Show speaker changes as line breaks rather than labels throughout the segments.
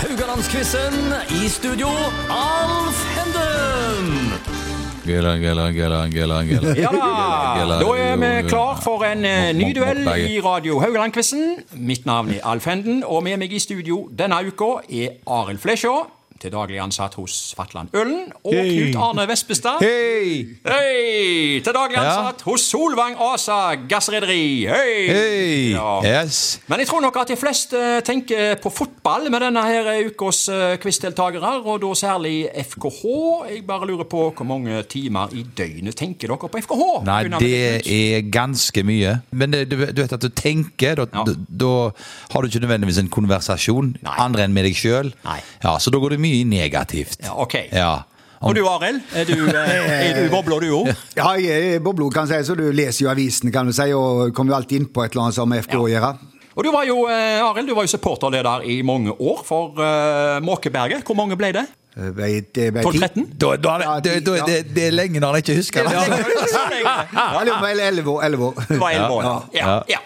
Haugalandsquizen. I studio, Alf Henden.
Gela, gela, gela, gela, gela.
Ja da! Da er vi klar for en eh, ny duell i Radio Haugaland-quizen. Mitt navn er Alf Henden, og med meg i studio denne uka er Arild Flesjå. Til daglig ansatt hos Fatland Ølen. Og Knut Arne Vespestad.
Hei!
Hei! Til daglig
Ja.
ansatt hos Solvang ASA Gassrederi. Hei!
Hei!
Ja.
Yes.
Men jeg tror nok at de fleste eh, tenker på fotball med denne her eh, ukas eh, quizdeltakere, og da særlig FKH. Jeg bare lurer på hvor mange timer i døgnet tenker dere på FKH?
Nei,
Begynner
det
med Knut.
er ganske mye. Men det, du, du vet at du tenker, da,
Ja.
da, da har du ikke nødvendigvis en konversasjon
Nei.
andre enn med deg sjøl.
Nei.
Ja, så da går det mye i negativt.
Ja, ok.
Ja.
Og du, Arild? Er du, eh, er du i bobla, du òg?
Ja, jeg er boblo, kan jeg si, så du leser jo avisen, kan du si, og kommer jo alltid inn på et eller annet som har med FK å gjøre.
Og du var jo eh, Arild, du var jo supporterleder i mange år for eh, Måkeberget. Hvor mange ble det?
Eh, ble- det ble
12-13?
ti.
Da, da,
Ja,
det,
de-
da,
ja.
det, det er lenge når han ikke husker det.
Ja.
Ja,
Ja,
eller om det var elleve år. elleve år.
Det var elleve år.
Ja.
Ja.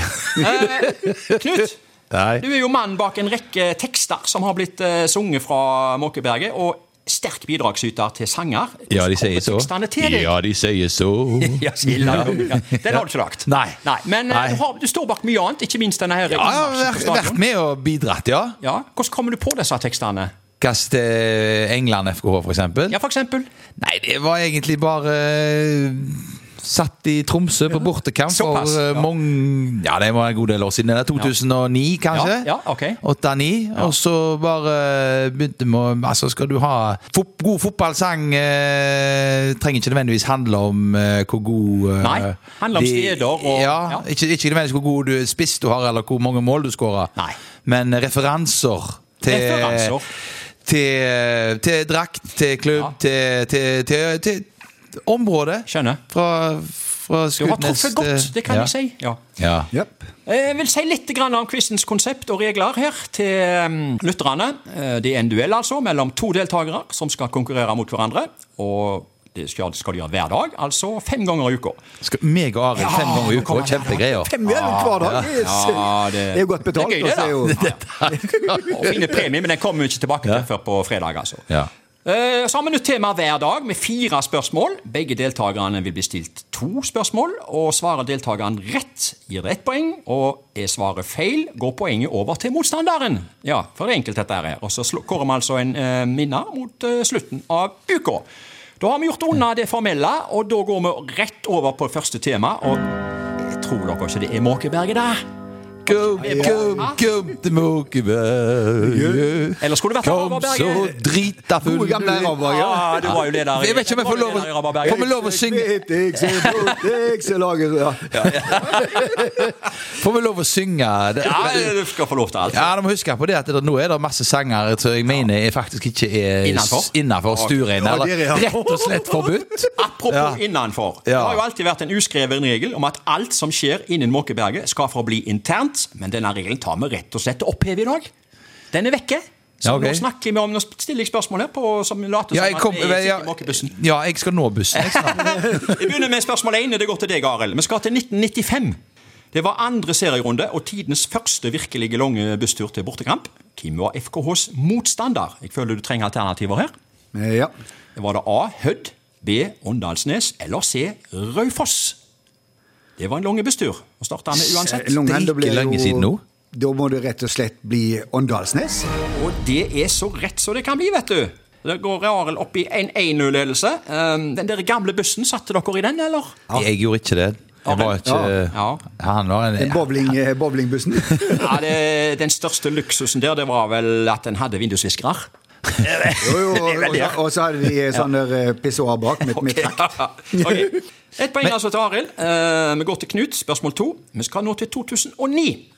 ja. Eh, Knut,
Nei.
du er jo mannen bak en rekke tekster som har blitt eh, sunget fra Måkeberget. og Sterk bidragsyter til sanger.
Ja, de sier
Hvordan
så.
kommer tekstene til deg?
Ja, de sier så.
Ja, skilla, ja. Den har du ikke lagt.
Nei.
Men eh,
Nei.
Du, har, du står bak mye annet, ikke minst denne her.
Ja, jeg har
innmarsjen på
vært,
stadion.
vært med og bidratt, ja.
Ja, Hvordan kommer du på disse tekstene?
Kast eh, England FKH, for eksempel.
Ja, for eksempel.
Nei, det var egentlig bare eh, Satt i Tromsø på bortekamp for
Såpass,
eh,
ja.
mange Ja, det var en god del år siden. Det er 2009, kanskje?
Ja, ja, ok.
8-9. Og så bare eh, begynte vi å Altså, skal du ha fot god fotballsang eh, Trenger ikke nødvendigvis handle om eh, hvor god eh,
Nei, handler om
de-
steder og-
ja,
ja.
Ikke, ikke nødvendigvis hvor god du spiss du har, eller hvor mange mål du skårer,
Nei.
men referanser til
Referanser.
til, til drakt, til klubb, til, til, til, til området.
Skjønner.
Fra, fra
Du har
Skudenes
truffet godt, det kan
eh, ja.
jeg si. Ja.
Ja.
Jep.
Eh, Jeg vil si litt grann om quizens konsept og regler her til mm, lytterne. Eh, Det er en duell altså mellom to deltakere som skal konkurrere mot hverandre. Og det skal, skal de gjøre hver dag, altså fem ganger i uka.
Skal meg og Arild fem ganger i uka, kjempegreier.
Fem mil hver dag, yes.
Ja,
det, er jo godt betalt.
Det er gøy, det,
og så er jo-
da. Ja, ja. Og fine premie, men den kommer vi ikke tilbake til før på fredag, altså.
Ja.
Eh, Så har vi nytt tema hver dag med fire spørsmål. Begge deltakerne vil bli stilt to spørsmål. og Svarer deltakeren rett, gir det ett poeng. og Er svaret feil, går poenget over til motstanderen. Ja, for det er enkelt dette her. Og Så slå- kårer vi altså en eh, minner mot eh, slutten av uka. Da har vi gjort unna det formelle, og da går vi rett over på første tema. og Jeg tror dere ikke det er Måkeberget der.
Kom, kom, kom til Måkeberg.
Eller skulle det vært
Kom
Rabarberget?
så drita full
Gode gamle Rabarberg, ja.
Ja, du var jo leder i-
Jeg vet ikke om jeg får lov,
Var du leder i Rabarberget?
å- får vi lov å synge,
Vet jeg, så fort jeg skal lage- ja.
får vi lov å synge det?
Ja, du skal få lov til alt.
Ja, du må huske på det at det, nå er det masse sanger som jeg mener er faktisk ikke er
Innenfor?
s- innenfor stuerein.
Ja,
Eller
der, ja.
rett og slett forbudt.
Apropos innenfor. Det
Ja.
har jo alltid vært en uskreven regel om at alt som skjer innen Måkeberget, skal forbli internt, men denne regelen tar vi rett og slett til oppheve i dag. Den er vekke. Så
Ja, ok.
nå snakker vi om Nå stiller jeg spørsmål her på, som later
Ja,
som
jeg, kom,
at vi sitter
ja,
i Måkebussen.
ja, jeg skal nå bussen. Jeg snart.
Vi begynner med spørsmål 1. Det går til deg, Arild. Vi skal til 1995. Det var andre serierunde og tidens første virkelige lange busstur til bortekamp. Hvem var FKHs motstander? Jeg føler du trenger alternativer her.
Eh, ja.
Var det A. Hødd, B. Åndalsnes eller C. Raufoss? Det var en lang busstur. Og starta med uansett.
Longheim, Eh, da
ikke
blir det
lenge
jo-
siden nå.
Da må du rett og slett bli Åndalsnes.
Og det er så rett som det kan bli, vet du. Det går Arild opp i en 1-0-ledelse. Um, Den der gamle bussen, satte dere i den, eller?
Jeg gjorde ikke det. Jeg var ikke
Ja.
Han var en
Den bowling, eh, bowlingbussen.
Ja, det, Den største luksusen der, det var vel at den hadde vindusviskere.
Jo, jo, og, og, så- og så hadde de eh, sånn der eh, pissoar bak med, med trakk.
Ok. Ett poeng altså til Arild. Eh, vi går til Knut, spørsmål to. Vi skal nå til 2009.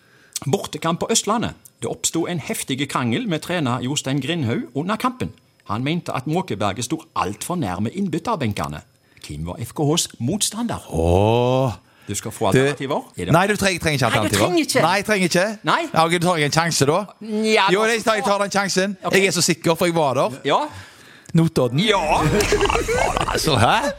Bortekamp på Østlandet. Det oppsto en heftig krangel med trener Jostein Grindhaug under kampen. Han mente at Måkeberget sto altfor nærme innbytterbenkene. Hvem var FKHs motstander?
Åh.
Du skal få
Du-
alternativer. Er det-
Nei, du trenger, trenger ikke
Nei,
alternativer.
du trenger ikke.
Nei, jeg trenger ikke.
Nei.
Ja, ok, du tar ikke en sjanse, da?
Nja,
jo,
da-
jeg tar, jeg tar den sjansen.
Ok.
Jeg er så sikker, for jeg var der.
Ja.
Notodden?
Ja!
Altså, hæ? Jeg,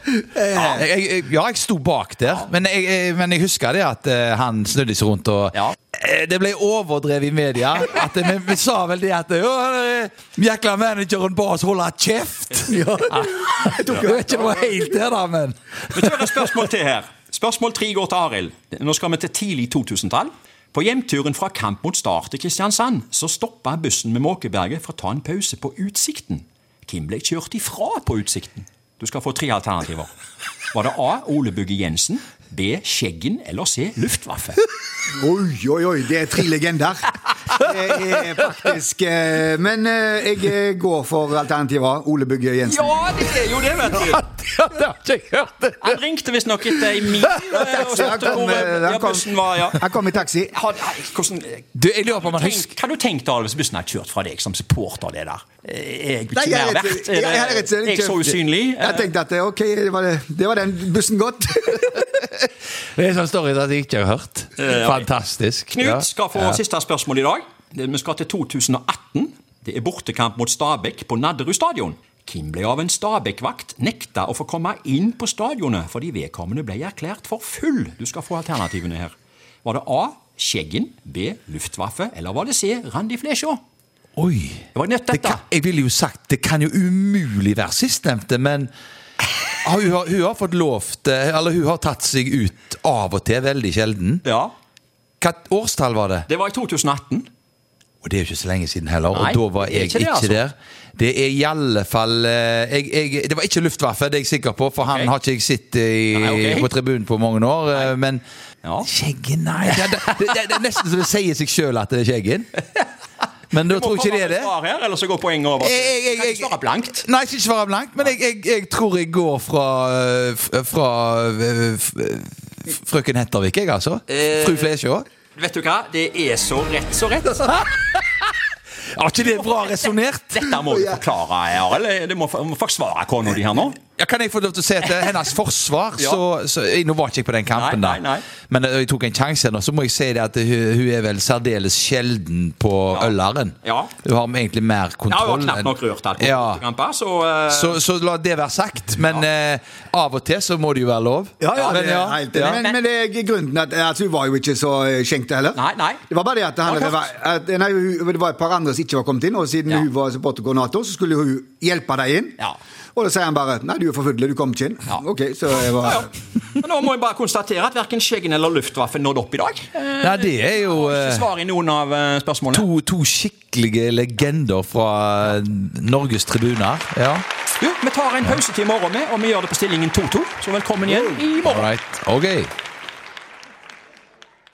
jeg, ja, jeg sto bak der, men jeg, jeg, men jeg husker det at eh, han snudde seg rundt og
Ja.
Eh, Det ble overdrevet i media. At vi, vi sa vel det at «Å, eh, Jækla manageren ba oss holde kjeft! Ja. Jeg tok jo ikke noe helt der, da, men
Vi kjører et spørsmål til her. Spørsmål tre går til Arild. Nå skal vi til tidlig 2000-tall. På hjemturen fra kamp mot Start til Kristiansand så stoppa bussen med Måkeberget for å ta en pause på Utsikten. Hvem ble kjørt ifra på Utsikten? Du skal få tre alternativer. Var det A. Ole Bugge Jensen, B. Skjeggen eller C. Luftwaffe?
Oi, oi, oi, det er tre legender. Det er faktisk eh, Men eh, jeg eh, går for alternativet Ole Bugge Jensen.
Ja, det er jo det, vet du!
det har ikke jeg hørt!
Han ringte visstnok etter ei mil eh, og
Han
spurte
kom,
hvor
eh,
eh,
han
ja,
kom-
bussen var. ja.
Han kom i taxi.
Har- har- Hvordan
Du, jeg lurer på om han
Tenk,
husker
hva du tenkt da hvis bussen har kjørt fra deg som supporter det der? Er jeg ikke
Nei, jeg
mer
er rett-
verdt?
jeg er
Er
rett-
det, jeg så usynlig?
Jeg tenkte at eh, ok, det var, det- det var den bussen godt.
Det er en sånn story at jeg ikke har hørt. Fantastisk.
Knut
Ja.
skal få siste spørsmål i dag. Vi skal til 2018. Det er bortekamp mot Stabæk på Nadderud stadion. Kim ble av en Stabæk-vakt nekta å få komme inn på stadionet fordi vedkommende ble erklært for full. Du skal få alternativene her. Var det A. Skjeggen, B. Luftwaffe, eller var det C. Randi Flesjå?
Oi.
Det var nett
Det
dette.
kan, jeg ville jo sagt det kan jo umulig være sistnevnte, men har- hun har, hun har fått lov til Eller hun har tatt seg ut av og til, veldig sjelden.
Ja,
Hva årstall var det?
det var i 2018.
Og Det er jo ikke så lenge siden heller, og
Nei,
da var
det er
jeg
ikke
ikke,
det, altså.
der. Det er i alle fall eh, jeg, jeg, Det var ikke Luftwaffe, det er jeg sikker på, for
Ok.
han har ikke jeg sett i,
Nei, ok.
på tribunen på mange år. eh, Men
Ja.
Skjeggen, nei det, det, det, det er nesten så det sier seg sjøl at det er Skjeggen. Men da tror jeg ikke det er det.
Svar her, eller så går poenget over.
Jeg, jeg, jeg,
kan ikke
jeg,
svare blankt.
Nei, jeg skal ikke svare blankt, men jeg, jeg, jeg tror jeg går fra eh, f- Fra eh, f- f- frøken Hettervik, jeg, altså.
Eh.
Fru Flesjå.
Vet du hva? Det er så rett, så rett.
Har ikke det bra resonnert?
Dette må du forklare, Arild. Du må, må forsvare kona di her nå.
Ja, kan jeg få lov til å se til hennes forsvar?
Ja.
så, så, eh, nå var ikke jeg på den kampen,
Nei,
da.
nei, nei.
men eh, jeg tok en sjanse. nå, Så må jeg si det at hun, hun er vel særdeles sjelden på Øllaren.
Ja.
Hun har egentlig mer
Jeg har
kontroll.
jo knapt nok
enn-
rørt her.
Ja.
Kamper, så, eh,
Så, så la det være sagt. Men eh, av og til så må det jo være lov.
det
men,
er helt enig.
ja.
Men, men det er grunnen til at altså, hun var jo ikke så eh, skjenkt heller.
Nei, nei.
Det var bare det at, han,
Det
det,
var
var, at nei, hun- det var et par andre som ikke var kommet inn, og siden
Ja.
hun var supporterkoordinator, så skulle hun hjelpe deg inn.
Ja.
Og da sier han bare 'nei, du er for full, du kommer ikke inn'.
Ja.
Ok, så jeg var...
ja. Men Nå må jeg bare konstatere at verken Skjeggen eller Luftwaffe nådde opp i dag. Eh,
Nei, det er jo eh,
Ikke svar i noen av eh, spørsmålene.
to, to skikkelige legender fra eh, Norges tribuner. Ja.
Du, vi tar en pause til i morgen, med, og vi gjør det på stillingen 2-2. Så velkommen igjen i morgen.
All right. Ok.